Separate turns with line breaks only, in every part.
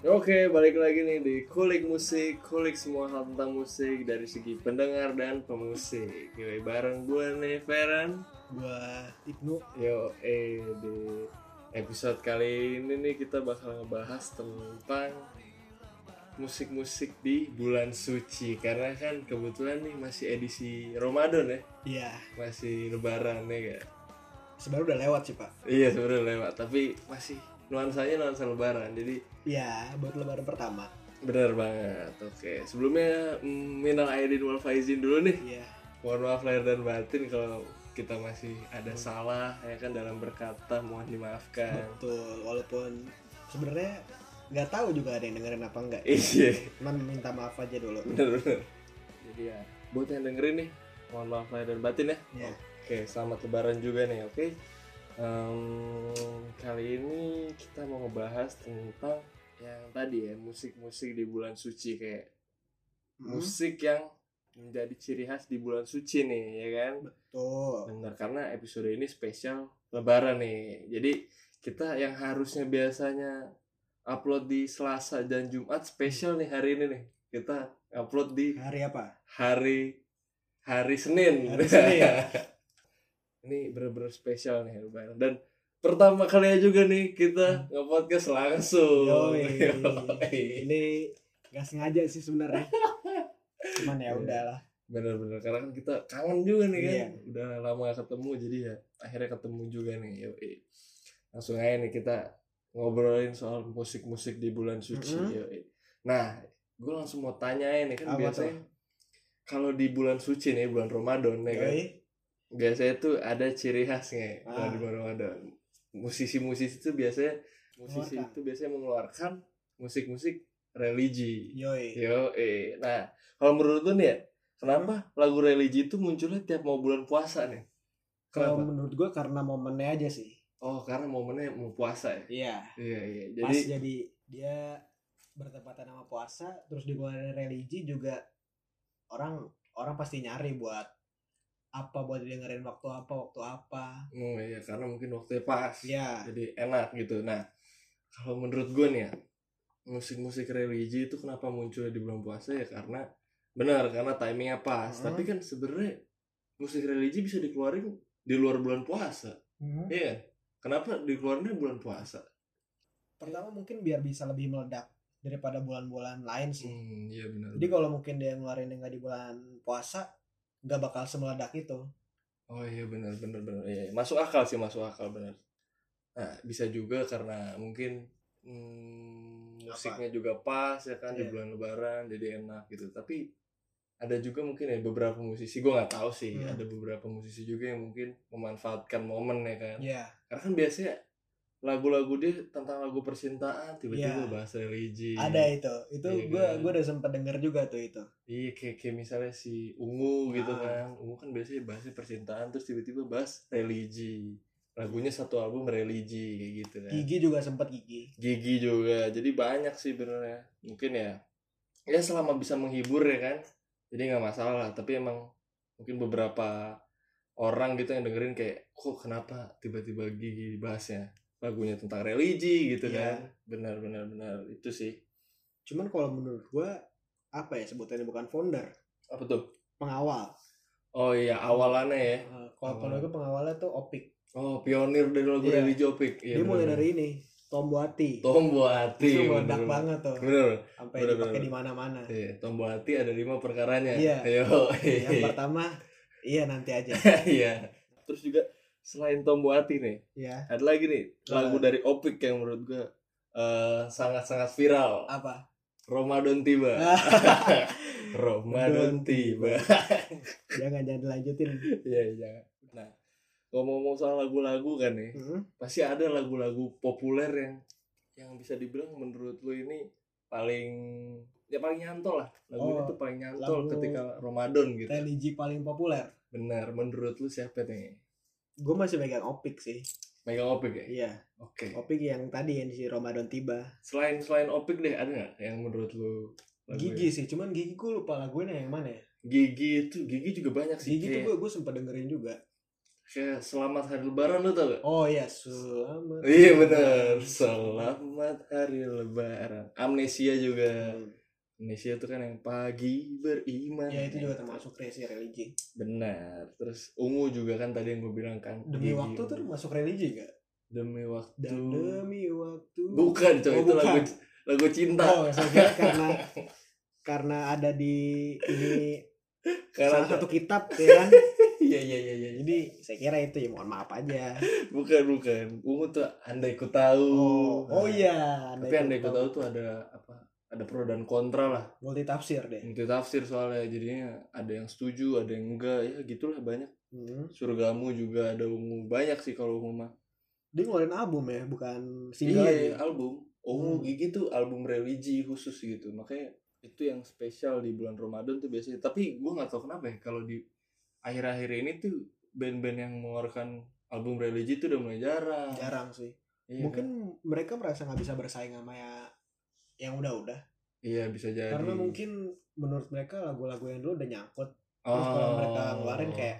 Oke, balik lagi nih di Kulik Musik, Kulik semua hal tentang musik dari segi pendengar dan pemusik. Yoi, bareng gue nih, Feren.
gua Ibnu
Yo, eh, di episode kali ini nih kita bakal ngebahas tentang musik-musik di bulan suci karena kan kebetulan nih masih edisi Ramadan ya
ya
masih lebaran ya gak?
sebenarnya udah lewat sih pak
iya sebenarnya lewat tapi masih nuansanya nuansa lebaran jadi
ya buat lebaran pertama
Bener banget. Oke, sebelumnya mm, minal aidin wal faizin dulu nih.
ya
Mohon maaf lahir dan batin kalau kita masih ada salah ya kan dalam berkata mohon dimaafkan.
betul walaupun sebenarnya nggak tahu juga ada yang dengerin apa enggak
Iya,
cuman minta maaf aja dulu
bener bener. Jadi ya buat yang dengerin nih mohon maaf lahir dan batin ya.
ya
Oke, selamat lebaran juga nih, oke? Em, kali ini kita mau ngebahas tentang yang tadi ya musik-musik di bulan suci kayak musik yang menjadi ciri khas di bulan suci nih ya kan
betul
benar karena episode ini spesial lebaran nih jadi kita yang harusnya biasanya upload di Selasa dan Jumat spesial nih hari ini nih kita upload di
hari apa
hari hari Senin
Hari Senin, ya.
ini bener-bener spesial nih lebaran dan pertama kalinya juga nih kita nge-podcast langsung
Hmm. Yoi.
Yoi.
ini nggak sengaja sih sebenarnya cuman ya
Iya.
udahlah
Bener-bener karena kan kita kangen juga nih kan.
Iya.
Udah lama gak ketemu jadi ya akhirnya ketemu juga nih. Yoi. Langsung aja nih kita ngobrolin soal musik-musik di bulan suci.
Mhm.
yoi. Nah, gue langsung mau tanyain nih
Apa
kan biasanya kalau di bulan suci nih bulan Ramadan ya kan.
Yoi.
Biasanya tuh ada ciri khasnya
Ah.
kalau di bulan Ramadan. Musisi-musisi tuh biasanya musisi
Mengeluarkan.
itu biasanya mengeluarkan musik-musik religi.
yoi
Yo, eh. Nah, kalau menurut lu nih ya, kenapa lagu religi itu munculnya tiap mau bulan puasa nih?
kalau
Kenapa?
menurut gua karena momennya aja sih
Oh, karena momennya mau puasa ya.
iya
Iya, iya.
pas
Jadi
jadi dia bertepatan sama puasa terus dikeluarin religi juga orang orang pasti nyari buat apa buat dengerin waktu apa waktu apa
oh iya, karena mungkin waktunya pas.
ya
Jadi enak gitu. Nah, kalau menurut gue nih ya, musik-musik religi itu kenapa munculnya di bulan puasa ya karena benar karena timingnya pas.
Mhm.
Tapi kan sebenarnya musik religi bisa dikeluarin di luar bulan puasa. Iya. kan? Kenapa dikeluarinnya bulan puasa?
pertama mungkin biar bisa lebih meledak daripada bulan-bulan lain sih
Hmm, iya benar.
jadi kalau mungkin dia ngeluarin yang nggak di bulan puasa nggak bakal semeledak itu
Oh iya benar benar benar iya iya. masuk akal sih masuk akal benar. Nah bisa juga karena mungkin hmm,
Apa?
musiknya juga pas ya kan di
Iya.
bulan Lebaran jadi enak gitu. Tapi ada juga mungkin ya beberapa musisi gue nggak tahu sih
Hmm.
ada beberapa musisi juga yang mungkin memanfaatkan momen ya kan.
ya
Karena kan biasanya lagu-lagu dia tentang lagu percintaan tiba-tiba
Iya.
bahas religi.
ada itu itu
Iya
gue
kan?
udah sempat denger juga tuh itu
Iya kayak, kayak misalnya si Ungu gitu
Ah.
kan Ungu kan biasanya bahasnya percintaan Terus tiba-tiba bahas religi Lagunya satu album religi kayak gitu kan
gigi juga sempat gigi
Gigi juga Jadi banyak sih benernya Mungkin ya Ya selama bisa menghibur ya kan Jadi nggak masalah Tapi emang mungkin beberapa orang gitu yang dengerin kayak Kok kenapa tiba-tiba gigi dibahasnya Lagunya tentang religi gitu
Iya.
kan Benar-benar benar itu sih
cuman kalau menurut gue apa ya sebutannya bukan founder
Apa tuh?
pengawal
Oh iya awalannya ya
Uh, kalau
Awal.
kalau gue pengawalnya tuh Opik.
Oh, pionir dari lagu
Iya.
religi Opik.
Dia
Iya,
mulai
bener.
dari ini, Tomboati.
Tombo Hati.
Itu
bener.
meledak banget Iya. tuh,
Bener.
sampai
bener,
dipakai
bener.
di mana-mana.
Iya, Tombo Hati ada lima perkaranya.
Iya.
Ayo.
Yang pertama, iya nanti aja.
Iya. Terus juga selain Tombo Hati nih,
ya,
ada lagi nih lagu
Eh.
dari Opik yang menurut gua eh, sangat-sangat viral.
apa?
Ramadan tiba.
Nah,
Ramadan tiba.
jangan jangan dilanjutin.
Iya, iya. Nah, ngomong-ngomong soal lagu-lagu kan nih,
Mm-mm.
pasti ada lagu-lagu populer yang yang bisa dibilang menurut lu ini paling ya paling nyantol lah lagu ini
Oh,
tuh paling nyantol
lagu-
ketika Ramadan gitu
Religi paling populer.
benar menurut lu siapa nih
Gue masih pegang Opik sih.
megang opik ya
Iya,
oke
Opik yang tadi yang di Ramadan tiba.
selain selain opik deh ada nggak yang menurut lu lagu
Gigi sih, cuman gigi gue lupa lagunya yang mana ya.
gigi itu gigi juga banyak sih
Gigi tuh
kayak
gue gue sempat dengerin juga.
kayak selamat hari lebaran lu tau gak?
Oh iya, selamat.
Iya bener Selamat hari lebaran Amnesia juga
Hmm.
Amnesia tuh kan yang pagi beriman
Ya itu juga termasuk religi religi.
Benar Terus ungu juga kan tadi yang gue bilang kan
Demi
Gigi
waktu
ungu.
termasuk religi gak?
Demi waktu
Dan demi waktu.
Bukan coy
Oh,
itu
bukan.
lagu lagu cinta
Oh, saya kira karena karena ada di ini
Karena
salah satu kitab ya kan.
Iya iya iya iya.
Jadi saya kira itu ya mohon maaf aja.
Bukan bukan Ungu tuh andai ku tahu
Oh, oh
Nah,
iya.
Tapi andai ku tahu tuh ada apa ada pro dan kontra lah
multi tafsir deh.
Multi tafsir soalnya jadinya ada yang setuju ada yang enggak ya gitulah banyak
Hmm.
surgamu juga ada ungu banyak sih kalau ungu mah
Dia ngeluarin album ya, bukan single
iya
lagi.
album ungu
Hmm.
gigi tuh album religi khusus gitu makanya itu yang spesial di bulan Ramadan tuh biasanya tapi gua nggak tahu kenapa ya kalau di akhir-akhir ini tuh band-band yang mengeluarkan album religi tuh udah mulai jarang,
Jarang sih.
Iya
Ya, Mungkin
kan?
mereka merasa nggak bisa bersaing sama ya yang udah-udah.
iya bisa jadi
Karena mungkin menurut mereka lagu-lagu yang dulu udah nyangkut.
oh.
Terus kalau mereka ngeluarin kayak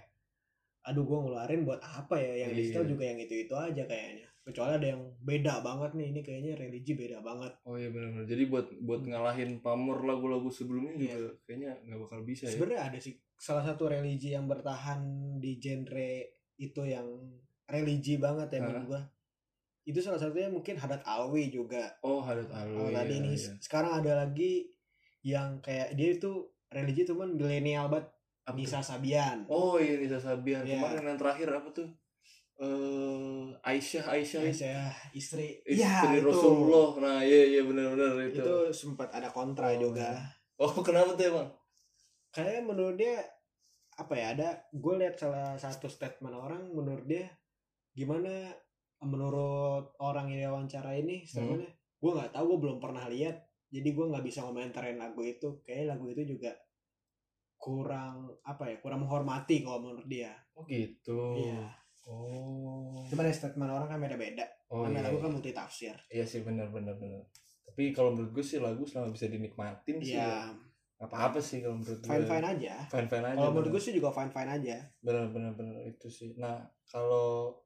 aduh gua ngeluarin buat apa ya yang
Iya.
digital juga yang itu-itu aja kayaknya. Kecuali ada yang beda banget nih ini kayaknya religi beda banget.
oh iya benar-benar jadi buat buat ngalahin pamor lagu-lagu sebelumnya
Hmm. Iya.
juga kayaknya nggak bakal bisa ya
Sebenarnya ada sih salah satu religi yang bertahan di genre itu yang religi banget ya
Hah?
menurut gua. Itu salah satunya mungkin Hadat Alwi juga.
oh hadat alwi
Kalau tadi
ya,
ini
ya.
sekarang ada lagi yang kayak dia itu religi cuman milenial banget
Apa tuh?
Nisa Sabian.
Oh iya Nisa Sabian
Iya.
kemarin yang terakhir apa tuh? Eh Aisyah Aisyah
Guys, ya, istri.
istri
Iya, itu.
Rasulullah. Nah iya iya benar-benar itu.
Itu sempat ada kontra
Oh,
juga.
iya. Oh kenapa tuh emang?
Kayaknya menurut dia apa ya ada gue lihat salah satu statement orang menurut dia gimana menurut orang yang wawancara
Hmm.
ini statementnya gue nggak tahu gue belum pernah lihat jadi gue nggak bisa ngomentarin lagu itu kayak lagu itu juga kurang apa ya kurang menghormati kalau menurut dia
Oh gitu.
Iya.
Oh.
Cuman ya statement orang kan beda-beda.
Oh
Namanya
iya.
lagu kan multi tafsir.
Iya sih benar-benar benar. Tapi kalau menurut gue sih lagu selama bisa dinikmatin sih. ya
Iya,
Apa-apa sih kalau menurut gue.
fine fine aja.
Fine-fine aja.
Kalau menurut gue sih juga fine fine aja.
benar-benar benar itu sih. Nah, kalau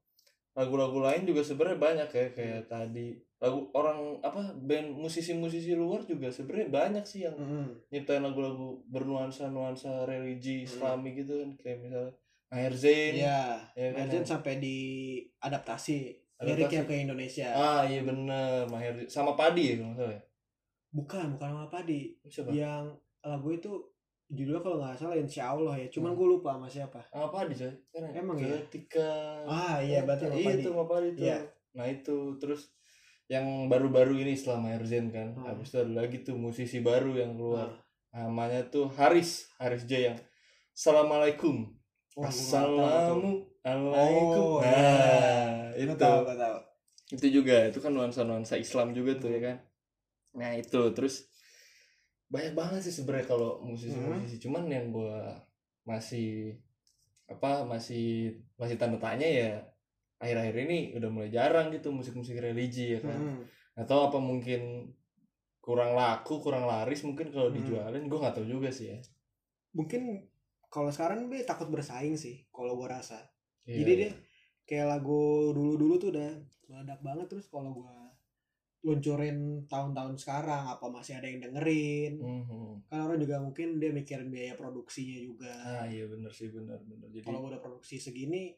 lagu-lagu lain juga sebenarnya banyak ya kayak
Hmm.
tadi lagu orang apa band musisi-musisi luar juga sebenarnya banyak sih yang
Mm-mm.
nyiptain lagu-lagu bernuansa nuansa religi
Hmm.
islami gitu kan kayak misalnya Maher Zain
Iya.
ya kan
Imagine sampai diadaptasi
Adaptasi.
liriknya ke Indonesia.
ah iya bener Maher Zain sama Padi ya kalau nggak salah ya?
Bukan, bukan sama Padi.
siapa
Yang lagu itu judulnya kalau nggak salah Insya Allah ya. Cuman
Hmm.
gue lupa sama siapa.
sama Padi coy Karena
Emang iya?
ketika
Ah iya, berarti sama
iya
Padi.
itu sama Padi tuh
Iya.
nah itu terus yang baru-baru ini setelah Maher Zain kan
Hmm.
habis itu ada lagi tuh musisi baru yang keluar
Nah,
namanya tuh Haris Haris J yang Assalamualaikum
wah, Oh, gua nggak tahu tuh.
Assalamu alaikum.
Oh,
nah,
Gua
itu.
tahu, gua tahu.
Itu juga, itu kan nuansa-nuansa Islam juga tuh ya kan. Nah, itu terus banyak banget sih sebenarnya kalau musisi-musisi
Hmm.
cuman yang gua masih apa masih masih tanda tanya ya akhir-akhir ini udah mulai jarang gitu musik-musik religi ya kan.
Mm-mm.
Atau apa mungkin kurang laku, kurang laris mungkin kalau
Hmm.
dijualin gua nggak tahu juga sih ya.
Mungkin kalau sekarang dia takut bersaing sih kalau gue rasa.
Iya,
Jadi
iya.
dia kayak lagu dulu-dulu tuh udah meledak banget terus kalau gua luncurin tahun-tahun sekarang apa masih ada yang dengerin.
Mhm.
Kan orang juga mungkin dia mikirin biaya produksinya juga.
Ah iya bener sih bener bener. Jadi
Kalau gua udah produksi segini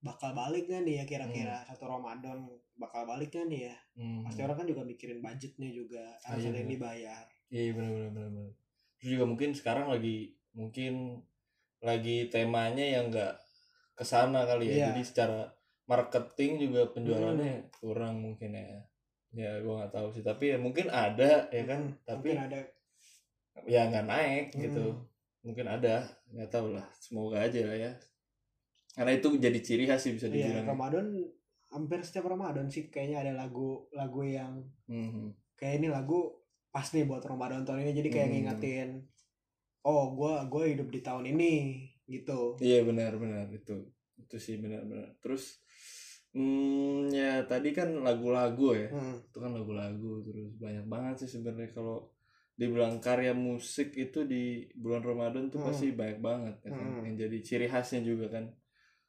bakal balik kan nih ya kira-kira
Hmm.
satu Ramadan bakal balik kan nih ya.
mhm.
Pasti orang kan juga mikirin budgetnya juga harus
iya,
ada yang
iya.
dibayar.
Iya benar benar benar benar. Terus juga mungkin sekarang lagi mungkin lagi temanya yang enggak kesana kali ya.
Iya. Hmm.
Jadi secara marketing juga penjualannya kurang mungkin ya. Ya gua nggak tahu sih tapi ya mungkin ada ya kan
Mm,
tapi
mungkin ada
ya nggak naik
Mm.
gitu. Mungkin ada nggak tahu lah. Semoga aja lah ya. Karena itu jadi ciri khas sih bisa
iya,
dibilang.
Ramadan hampir setiap Ramadan sih kayaknya ada lagu-lagu yang
Mhm.
kayak ini lagu pas nih buat Ramadan tahun ini jadi kayak
Hmm.
ngingetin oh gua gua hidup di tahun ini gitu
Iya benar-benar itu itu sih benar-benar. Terus hmm, ya tadi kan lagu-lagu ya.
Hmm.
itu kan lagu-lagu terus banyak banget sih sebenarnya kalau dibilang karya musik itu di bulan Ramadan tuh
Hmm.
pasti banyak banget ya kan?
Hmm.
yang jadi ciri khasnya juga kan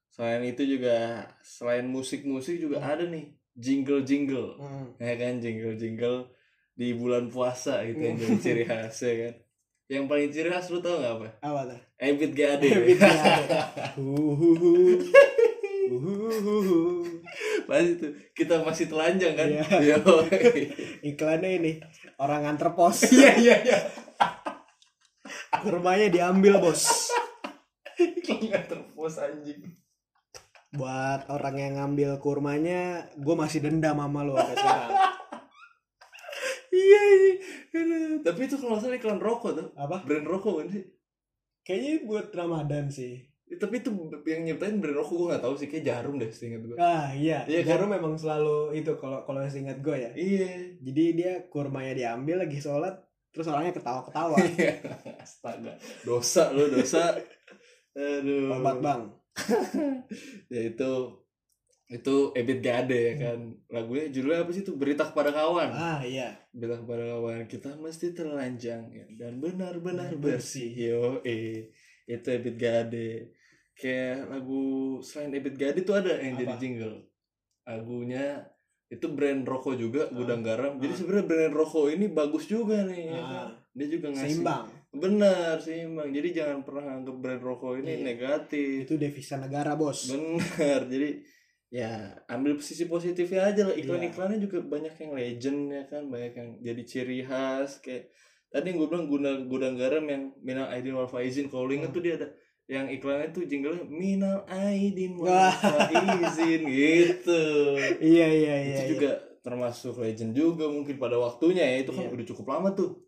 selain itu juga selain musik-musik juga ada nih jingle-jingle
Hmm.
ya kan jingle-jingle di bulan puasa gitu yang jadi ciri khas ya kan yang paling ciri khas lu tau gak apa
Apa tuh?
Ebit GAD
Beat nggak ada. Huhuhu. Huhuhu.
pasti tuh kita masih telanjang kan
Iya.
Yoi.
Iklannya ini orang nganter pos.
iya iya iya
Kurmanya diambil, Bos.
Iklan nggak terpos anjing
Buat orang yang ngambil kurmanya, gue masih dendam sama lu sampai sekarang.
iya iya Aduh. tapi itu kalau nggak salah iklan rokok tuh
Apa?
brand rokok kan sih
Kayaknya buat Ramadan sih.
Eh, tapi itu yang nyiptain brand rokok gue nggak tahu sih kayak jarum deh seingat gue
Ah, iya.
Iya, kan?
Jarum memang selalu itu kalau kalau seingat gue ya.
iya
Jadi dia kurmanya diambil lagi sholat, terus orangnya ketawa-ketawa.
Iya. Astaga, dosa lu dosa. Aduh.
Obat, Bang.
Ya itu itu Ebit Gade ya kan. Lagunya judulnya apa sih itu? Berita kepada kawan.
Ah, iya.
Berita kepada kawan kita mesti terlanjang ya, dan benar-benar
Benar
bersih. Yo eh itu Ebit Gade. Kayak lagu selain Ebit Gade tuh ada yang jadi
Apa?
jingle. Lagunya itu brand rokok juga gudang garam. Jadi
Ah.
sebenarnya brand rokok ini bagus juga nih. ya kan?
Ah,
Dia juga ngasih
seimbang.
Benar seimbang. Jadi jangan pernah anggap brand rokok
Iya.
ini negatif.
Itu devisa negara, Bos.
Benar. Jadi ya ambil sisi positifnya aja lah.
Iya.
Iklan-iklannya juga banyak yang legend ya kan, banyak yang jadi ciri khas kayak tadi yang gue bilang gudang gudang garam yang Minal Aidin Wal Faizin kalau lu inget
Hmm.
tuh dia ada yang iklannya tuh jinglenya Minal Aidin Wal
Wah.
Faizin gitu.
Iya, iya, iya.
itu
iya.
juga termasuk legend juga mungkin pada waktunya ya itu kan
Iya.
udah cukup lama tuh.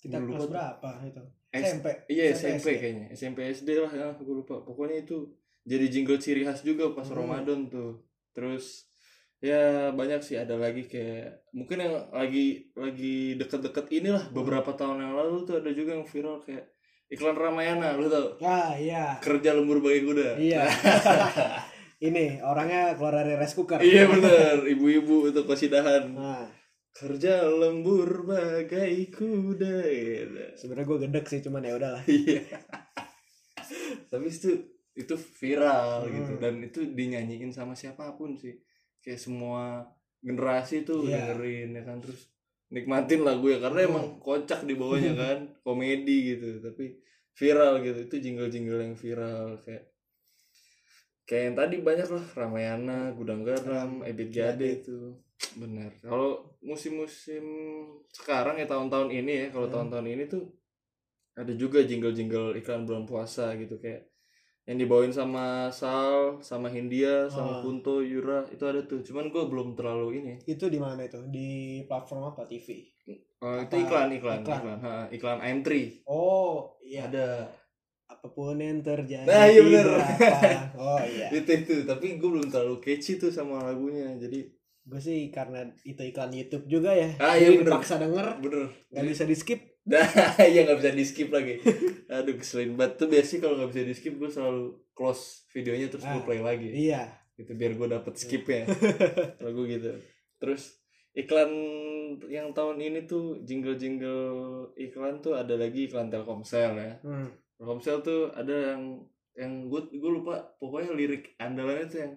kita
Dulu
kelas
tuh.
berapa itu?
S-
SMP.
Iya
SMP,
SMP,
SD.
kayaknya SMP SD lah ya gue lupa pokoknya itu jadi jingle ciri khas juga pas
Hmm.
Ramadan tuh terus ya banyak sih ada lagi kayak mungkin yang lagi lagi deket-deket inilah beberapa tahun yang lalu tuh ada juga yang viral kayak iklan Ramayana lu tau
Ah, iya.
kerja lembur bagai kuda
Iya. Ini orangnya keluar dari rice cooker.
iya bener ibu-ibu itu kosidahan
Nah,
kerja lembur bagai kuda gitu.
sebenarnya gue gedek sih, cuman ya udahlah.
Iya. Tapi itu itu viral
Hmm.
gitu dan itu dinyanyiin sama siapapun sih. Kayak semua generasi tuh
Iya.
dengerin ya kan terus nikmatin lagu ya karena
Hmm.
emang kocak di bawahnya kan, komedi gitu. Tapi viral gitu. Itu jingle-jingle yang viral kayak kayak yang tadi banyak lah Ramayana, Gudang Garam, Ebit Gade
Gade.
itu. Benar. Kalau musim-musim sekarang ya tahun-tahun ini ya, kalau
Hmm.
tahun-tahun ini tuh ada juga jingle-jingle iklan bulan puasa gitu kayak yang dibawain sama Sal, sama Hindia,
Ah.
sama Kunto, Yura itu ada tuh. Cuman gue belum terlalu ini.
Itu di mana itu? Di platform apa? TV?
Eh, itu
Apa?
iklan, iklan, iklan,
Iklan.
iklan, Ha, iklan I'm Three.
Oh, iya.
Ada.
Apapun yang terjadi.
Nah, iya bener.
berapa- Oh, iya.
Itu itu. Tapi gue belum terlalu catchy tuh sama lagunya. Jadi
Gue sih karena itu iklan YouTube juga ya.
Ah, iya,
Jadi
bener.
dipaksa denger,
bener.
nggak bisa di skip.
Nah, iya nggak bisa di skip lagi. Aduh keselin banget. Tuh biasanya kalau nggak bisa di skip gue selalu close videonya terus gue
Ah,
play lagi.
Iya.
gitu biar gue dapet skipnya kalau gue gitu terus iklan yang tahun ini tuh jingle jingle iklan tuh ada lagi iklan Telkomsel ya
Hmm.
Telkomsel tuh ada yang yang gue gue lupa pokoknya lirik andalannya tuh yang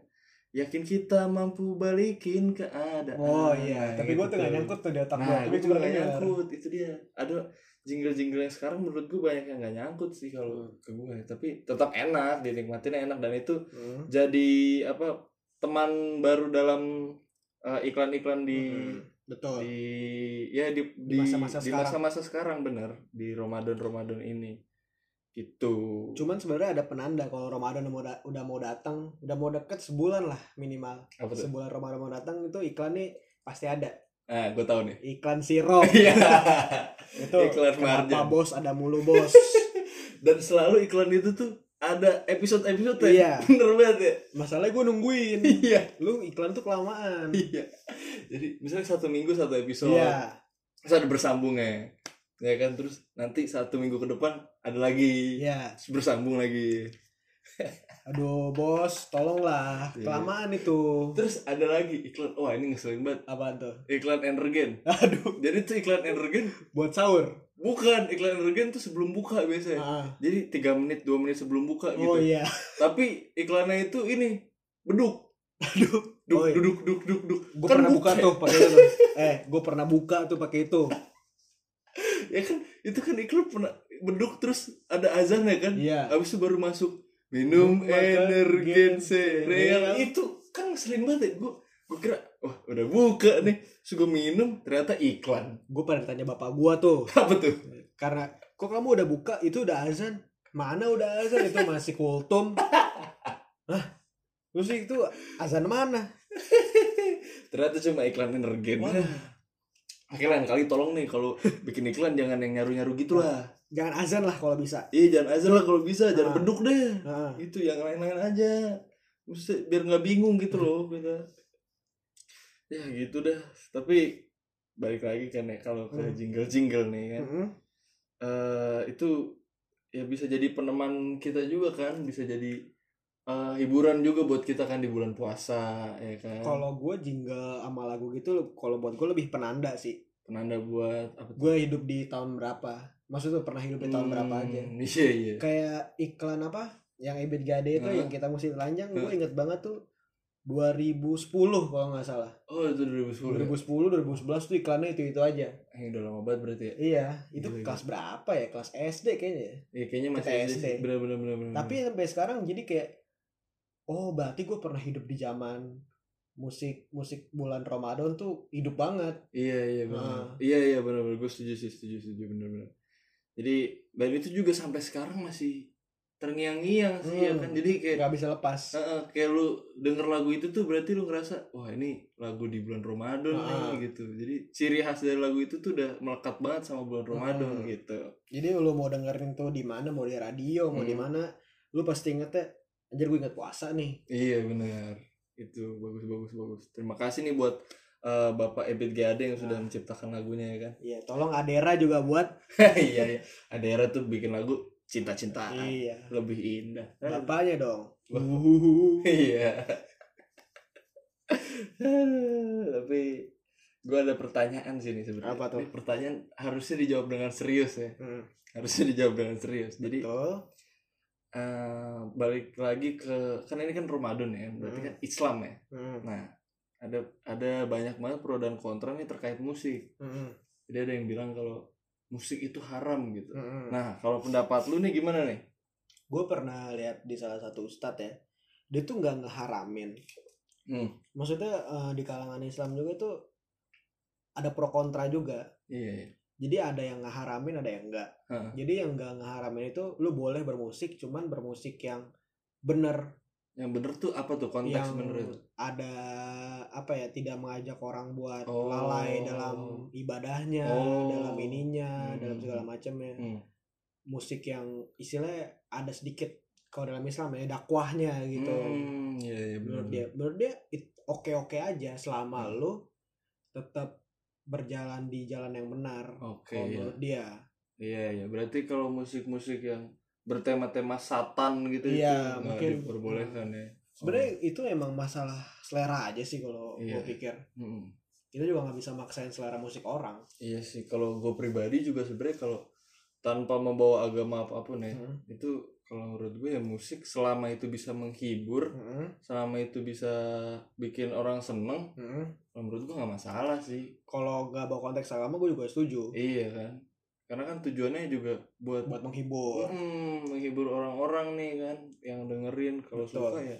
yakin kita mampu balikin keadaan
Oh iya, tapi gue tuh gak nyangkut tuh di otak gue.
gitu nah
Tapi
gue
gue
juga gak
denger.
nyangkut itu dia ada jingle jingle yang sekarang menurut gue banyak yang gak nyangkut sih kalau ke gue tapi tetap enak dinikmatin enak dan itu
Hmm.
jadi apa teman baru dalam uh, iklan-iklan di
Hmm. Betul.
di ya di di
Di masa-masa
di
sekarang.
masa-masa sekarang. bener di Ramadan Ramadan ini gitu
Cuman sebenarnya ada penanda kalau Ramadan udah mau da- udah mau datang, udah mau deket sebulan lah minimal.
apa tuh
Sebulan Ramadan mau datang itu iklan nih pasti ada.
ah gue tahu nih
Iklan sirup.
Iya.
itu
Iklan
kenapa
marjan.
bos ada mulu bos.
dan selalu iklan itu tuh ada episode episode
Iya.
bener banget ya
Masalahnya gue nungguin.
iya
Lu iklan tuh kelamaan.
iya jadi misalnya satu minggu satu episode
Iya.
terus ada bersambungnya ya kan terus nanti satu minggu ke depan ada lagi
Iya.
Terus bersambung lagi
Aduh bos, tolonglah.
Iya.
Kelamaan itu.
Terus ada lagi iklan, wah ini ngeselin banget
Apaan tuh?
Iklan energen
Aduh,
Jadi tuh iklan energen
buat sahur.
bukan iklan energen tuh sebelum buka biasanya
Ah,
jadi tiga menit dua menit sebelum buka Iya. gitu
oh iya
tapi iklannya itu ini beduk
aduh Oh,
duk
iya.
duduk duk duk duk
gue
Kan
pernah buka
buka ya?
tuh pakai itu eh gue pernah buka tuh pakai itu
ya kan itu kan iklan pernah beduk terus ada azan ya kan
iya
abis itu baru masuk minum
Minum makan
energen
gen
sereal
sereal.
itu kan ngeselin banget gue gue kira wah udah buka nih terus gue minum ternyata iklan
gue pernah tanya bapak gue tuh
apa tuh
karena kok kamu udah buka itu udah azan mana udah azan itu masih kultum Hah? terus itu azan mana
ternyata cuma iklan energen
Waduh,
Oke lain kali tolong nih kalau bikin iklan jangan yang nyaru-nyaru gitu lah.
jangan azan lah kalau bisa
Iya jangan azan lah kalau bisa,
Ah.
jangan beduk deh.
Nah,
Itu yang lain-lain aja. Mesti biar nggak bingung gitu loh kita. Ya gitu dah. Tapi balik lagi kan ya kalau ke
Hmm.
jingle-jingle nih kan.
mm-mm.
Eh, itu ya bisa jadi peneman kita juga kan, bisa jadi eh, hiburan juga buat kita kan di bulan puasa ya kan.
kalau gue jingle sama lagu gitu kalau buat gue lebih penanda sih
Penanda buat apa
gue hidup di tahun berapa maksudnya pernah hidup di tahun berapa
Hmm,
aja
Iya iya.
kayak iklan apa yang Ebit Gade itu
Heeh.
yang kita mesti telanjang gue
Heeh.
inget banget tuh 2010 kalau nggak salah
Oh itu 2010. ya?
2010 2011 tuh iklannya itu itu aja
Ini udah lama banget berarti ya?
iya itu
Gila, gila.
kelas berapa ya kelas SD kayaknya ya.
Iya kayaknya masih
Kita
SD.
SD.
Bener bener bener bener.
tapi sampai sekarang jadi kayak oh berarti gue pernah hidup di zaman musik musik bulan Ramadan tuh hidup banget
iya iya bener.
Ah.
Iya iya bener bener. Gue setuju sih setuju setuju bener bener. Jadi band itu juga sampai sekarang masih terngiang-ngiang sih ya
Hmm.
kan. Jadi kayak
nggak bisa lepas
Heeh, kayak lu denger lagu itu tuh berarti lu ngerasa wah ini lagu di bulan Ramadan
Ah.
nih gitu. Jadi ciri khas dari lagu itu tuh udah melekat banget sama bulan Ramadan
Hmm.
gitu.
jadi lu mau dengerin tuh di mana mau di radio mau
Hmm.
di mana lu pasti ingetnya anjir gue inget puasa nih
Iya benar. Itu bagus bagus bagus. Terima kasih nih buat eh, Bapak Ebit Gade yang
Ah.
sudah menciptakan lagunya ya kan.
Iya, tolong Adera juga buat.
iya iya Adera tuh bikin lagu cinta-cintaan
Iya.
lebih indah
Bapaknya dong.
Ah. Wah.
Uhuhu.
iya tapi gue ada pertanyaan sih nih sebenarnya
Apa tuh?
Ini pertanyaan harusnya dijawab dengan serius ya
Hmm,
harusnya dijawab dengan serius jadi
Betul.
eh, balik lagi ke kan ini kan Ramadan ya berarti
Hmm.
kan Islam ya
Hmm,
nah ada ada banyak banget pro dan kontra nih terkait musik
hmm,
jadi ada yang bilang kalau musik itu haram gitu
hmm.
nah kalau pendapat lu nih gimana nih
gue pernah lihat di salah satu ustadz ya, dia tuh nggak ngeharamin.
Hmm.
Maksudnya eh, di kalangan Islam juga tuh ada pro kontra juga.
iya iya.
Jadi ada yang ngeharamin, ada yang enggak.
Heeh.
Jadi yang nggak ngeharamin itu lu boleh bermusik, cuman bermusik yang bener
Yang bener tuh apa tuh
yang
konteks menurut?
ada apa ya tidak mengajak orang buat
Oh.
lalai dalam ibadahnya
Oh.
dalam ininya
Hmm.
dalam segala macamnya
Hmm.
musik yang istilahnya ada sedikit kalau dalam Islam ya dakwahnya gitu
Hmm, iya iya bener.
menurut dia menurut dia oke oke aja selama
Hmm.
lu tetap berjalan di jalan yang benar
Oke
kalau
iya.
menurut dia
Iya iya. Berarti kalau musik-musik yang bertema-tema satan gitu
Iya,
itu nggak
mungkin.
diperbolehkan ya.
sebenarnya itu emang masalah selera aja sih kalau
Iya.
gue pikir
Mm-mm.
kita juga nggak bisa maksain selera musik orang
Iya sih. Kalau gue pribadi juga sebenarnya kalau tanpa membawa agama apapun ya
Hmm.
itu kalau menurut gue ya musik selama itu bisa menghibur,
Mm-mm.
selama itu bisa bikin orang seneng,
Mm-mm.
kalau menurut gue nggak masalah sih.
hmm. kalau nggak bawa konteks agama gue juga setuju
Iya kan. Karena kan tujuannya juga buat
buat menghibur
Mm, menghibur orang-orang nih kan yang dengerin kalau
Betul.
suka ya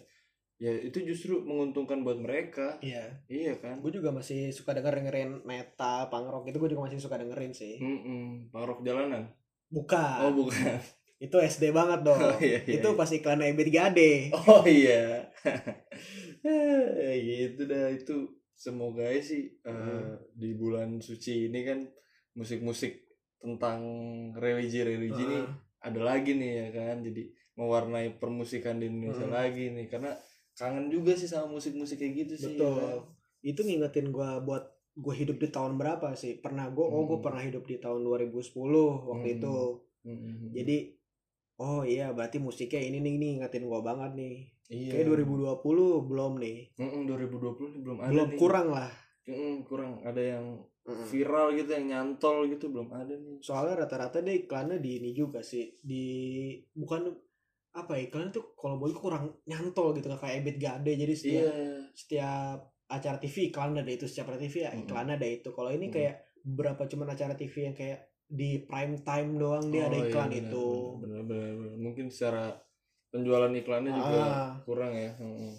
ya itu justru menguntungkan buat mereka
iya
iya kan
gue juga masih suka denger dengerin metal punk rock itu gue juga masih suka dengerin sih
Mm-mm. parok jalanan Hmm. oh
bukan
bukan
itu SD banget dong
oh iya, iya.
itu pas iklan Ebit Gade
oh iya Eh, gitu dah itu semoga aja sih eh,
Mm.
di bulan suci ini kan musik-musik tentang religi-religi ini
Heeh.
ada lagi nih ya kan jadi mewarnai permusikan di Indonesia
Mm.
lagi nih karena kangen juga sih sama musik-musik kayak gitu sih ya
Betul.
kan?
itu ngingetin gue buat gue hidup di tahun berapa sih pernah gue oh gue
Hmm.
pernah hidup di tahun 2010 waktu
Hmm.
itu
Mm-mm.
jadi oh iya berarti musiknya ini nih nih ngingetin gue banget nih
iya.
kayak 2020 belum nih
Mm-mm, 2020 ini belum ada
belum
nih.
kurang lah
Mm-mm, kurang ada yang
Mm-mm.
viral gitu yang nyantol gitu belum ada nih
soalnya rata-rata dia iklannya di ini juga sih di bukan apa ya, iklan tuh kalau bagi kurang nyantol gitu nggak kayak Ebit Gade jadi setiap
iya
setiap acara TV iklan ada itu setiap acara TV ya
Mm.
iklan ada itu kalau ini
Mm.
kayak beberapa cuman acara TV yang kayak di prime time doang dia ada
Oh, iya,
iklan
benar,
itu
benar, benar, benar. mungkin secara penjualan iklannya juga
Ah,
kurang ya Mm-mm.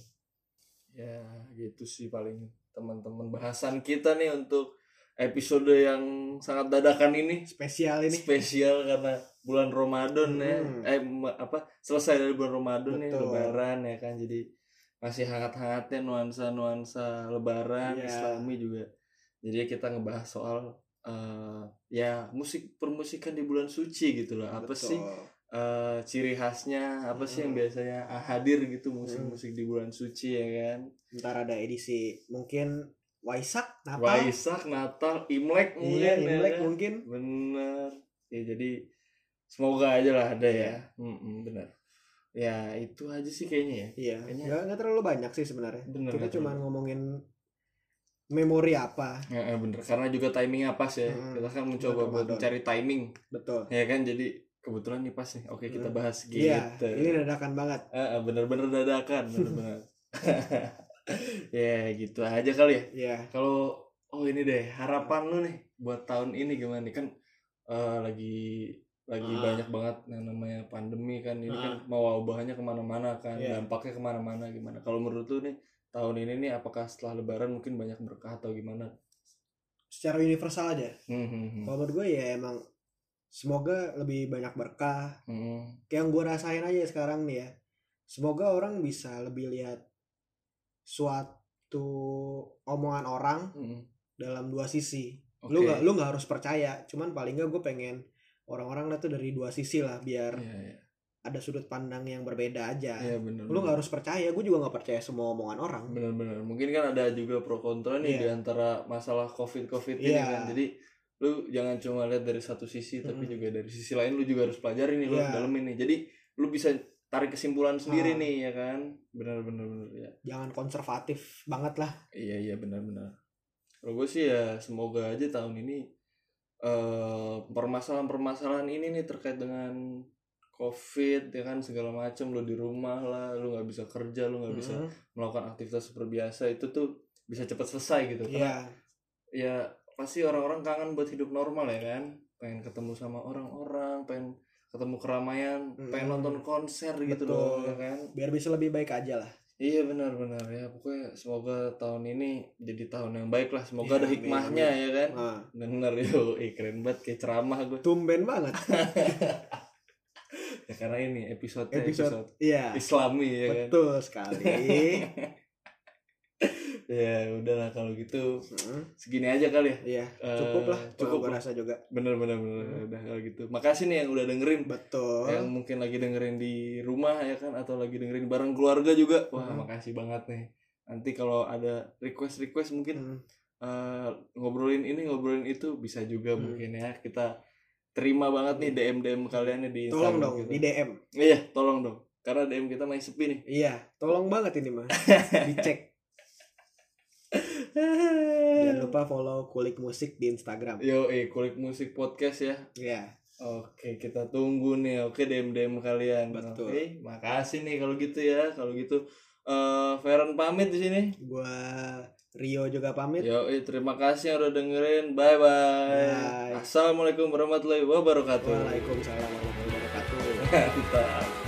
ya gitu sih paling teman-teman bahasan kita nih untuk episode yang sangat dadakan ini
spesial ini
spesial karena bulan Ramadan ya.
Hmm.
Eh me- apa selesai dari bulan Ramadan ya
Betul.
lebaran ya kan. Jadi masih hangat-hangatnya nuansa-nuansa lebaran
Iya.
Islami juga. Jadi kita ngebahas soal eh, ya musik permusikan di bulan suci gitu loh. Apa
Betul.
sih eh, ciri khasnya? Apa sih yang
Hmm.
biasanya hadir gitu musik-musik di bulan suci ya kan?
ntar ada edisi mungkin Waisak Natal
Waisak, Natal, Imlek mungkin
iya
ya
Imlek
kan?
mungkin
Bener. Ya jadi semoga aja lah ada
Iya.
ya. Mm-mm, bener. Ya itu aja sih kayaknya ya.
iya
Kayaknya-
nggak nggak terlalu banyak sih sebenarnya
Bener.
kita
nggak
cuma
terlalu-
ngomongin memori apa
Ya, ya, bener. Karena juga timingnya pas ya.
Mm-mm.
Kita kan mencoba
Bulan
buat
Ramadan.
mencari timing.
betul
Ya kan jadi kebetulan nih pas nih. Oke kita
Mm.
bahas gitu.
iya ini dadakan banget
Eh, eh, bener-bener dadakan. Bener-bener. ya gitu aja kali ya.
iya
Kalau oh ini deh harapan lu nih buat tahun ini gimana nih kan eh, lagi lagi
Ah.
banyak banget yang namanya pandemi kan ini kan
Ah.
mau wabahnya kemana-mana kan
Iya.
dampaknya kemana-mana gimana kalau menurut lu nih tahun ini nih apakah setelah lebaran mungkin banyak berkah atau gimana?
secara universal aja
Hmm, hmm, hmm.
kalau menurut gue ya emang semoga lebih banyak berkah
Hmm,
kayak yang gue rasain aja sekarang nih ya semoga orang bisa lebih lihat suatu omongan orang
hmm.
dalam dua sisi
Oke.
lu nggak lu nggak harus percaya cuman paling nggak gue pengen orang-orang lah tuh dari dua sisi lah biar
Iya iya.
ada sudut pandang yang berbeda aja
Iya benar.
lu nggak harus percaya gue juga nggak percaya semua omongan orang
benar-benar mungkin kan ada juga pro kontra
Iya.
nih di antara masalah covid covid ini
Iya.
kan jadi lu jangan cuma lihat dari satu sisi tapi
Mm.
juga dari sisi lain lu juga harus pelajari nih lu
Iya.
dalemin nih jadi lu bisa tarik kesimpulan sendiri
Ah.
nih ya kan benar-benar benar ya
jangan konservatif banget lah
iya iya benar-benar kalau gue sih ya semoga aja tahun ini eh, permasalahan-permasalahan ini nih terkait dengan covid ya kan segala macam lu di rumah lah lu nggak bisa kerja lu nggak bisa
Mm-mm.
melakukan aktivitas seperti biasa itu tuh bisa cepat selesai gitu Karena
Iya.
ya pasti orang-orang kangen buat hidup normal ya kan pengen ketemu sama orang-orang pengen ketemu keramaian
Mm.
pengen nonton konser gitu
Betul.
loh ya kan
biar bisa lebih baik aja lah
iya benar-benar ya pokoknya semoga tahun ini jadi tahun yang baik lah
Iya,
semoga ada
amin,
hikmahnya ya kan
nah,
bener yo eh, keren banget kayak ceramah gue
tumben banget
ya, karena ini episode
Episode.
episode
iya
Islami ya kan
betul sekali
ya udahlah kalau gitu
Mm-mm.
segini aja kali ya
Iya,
Eh,
cukup lah.
cukup
Cukup gue
lah.
rasa juga.
bener bener bener
Hmm.
udah kalau gitu makasih nih yang udah dengerin
Betul.
yang mungkin lagi dengerin di rumah ya kan atau lagi dengerin bareng keluarga juga wah
Hmm.
makasih banget nih nanti kalau ada request request mungkin
Hmm,
eh, ngobrolin ini ngobrolin itu bisa juga
Hmm.
mungkin ya kita terima banget nih DM DM kalian di
Iya. Tolong
Instagram
dong
kita.
di DM.
iya tolong dong karena DM kita masih sepi nih
Iya, tolong banget ini mah. Dicek. Jangan lupa follow Kulik Musik di Instagram.
yo eh kulik musik podcast ya
Iya.
Oke, kita tunggu nih. Oke, DM-DM kalian.
Betul.
Oke, makasih nih kalau gitu ya. Kalau gitu eh Feren pamit di sini.
Gua Rio juga pamit.
Yo, terima kasih yang udah dengerin. Bye bye.
Bye.
Assalamualaikum warahmatullahi wabarakatuh.
Waalaikumsalam warahmatullahi wabarakatuh.
Mantap.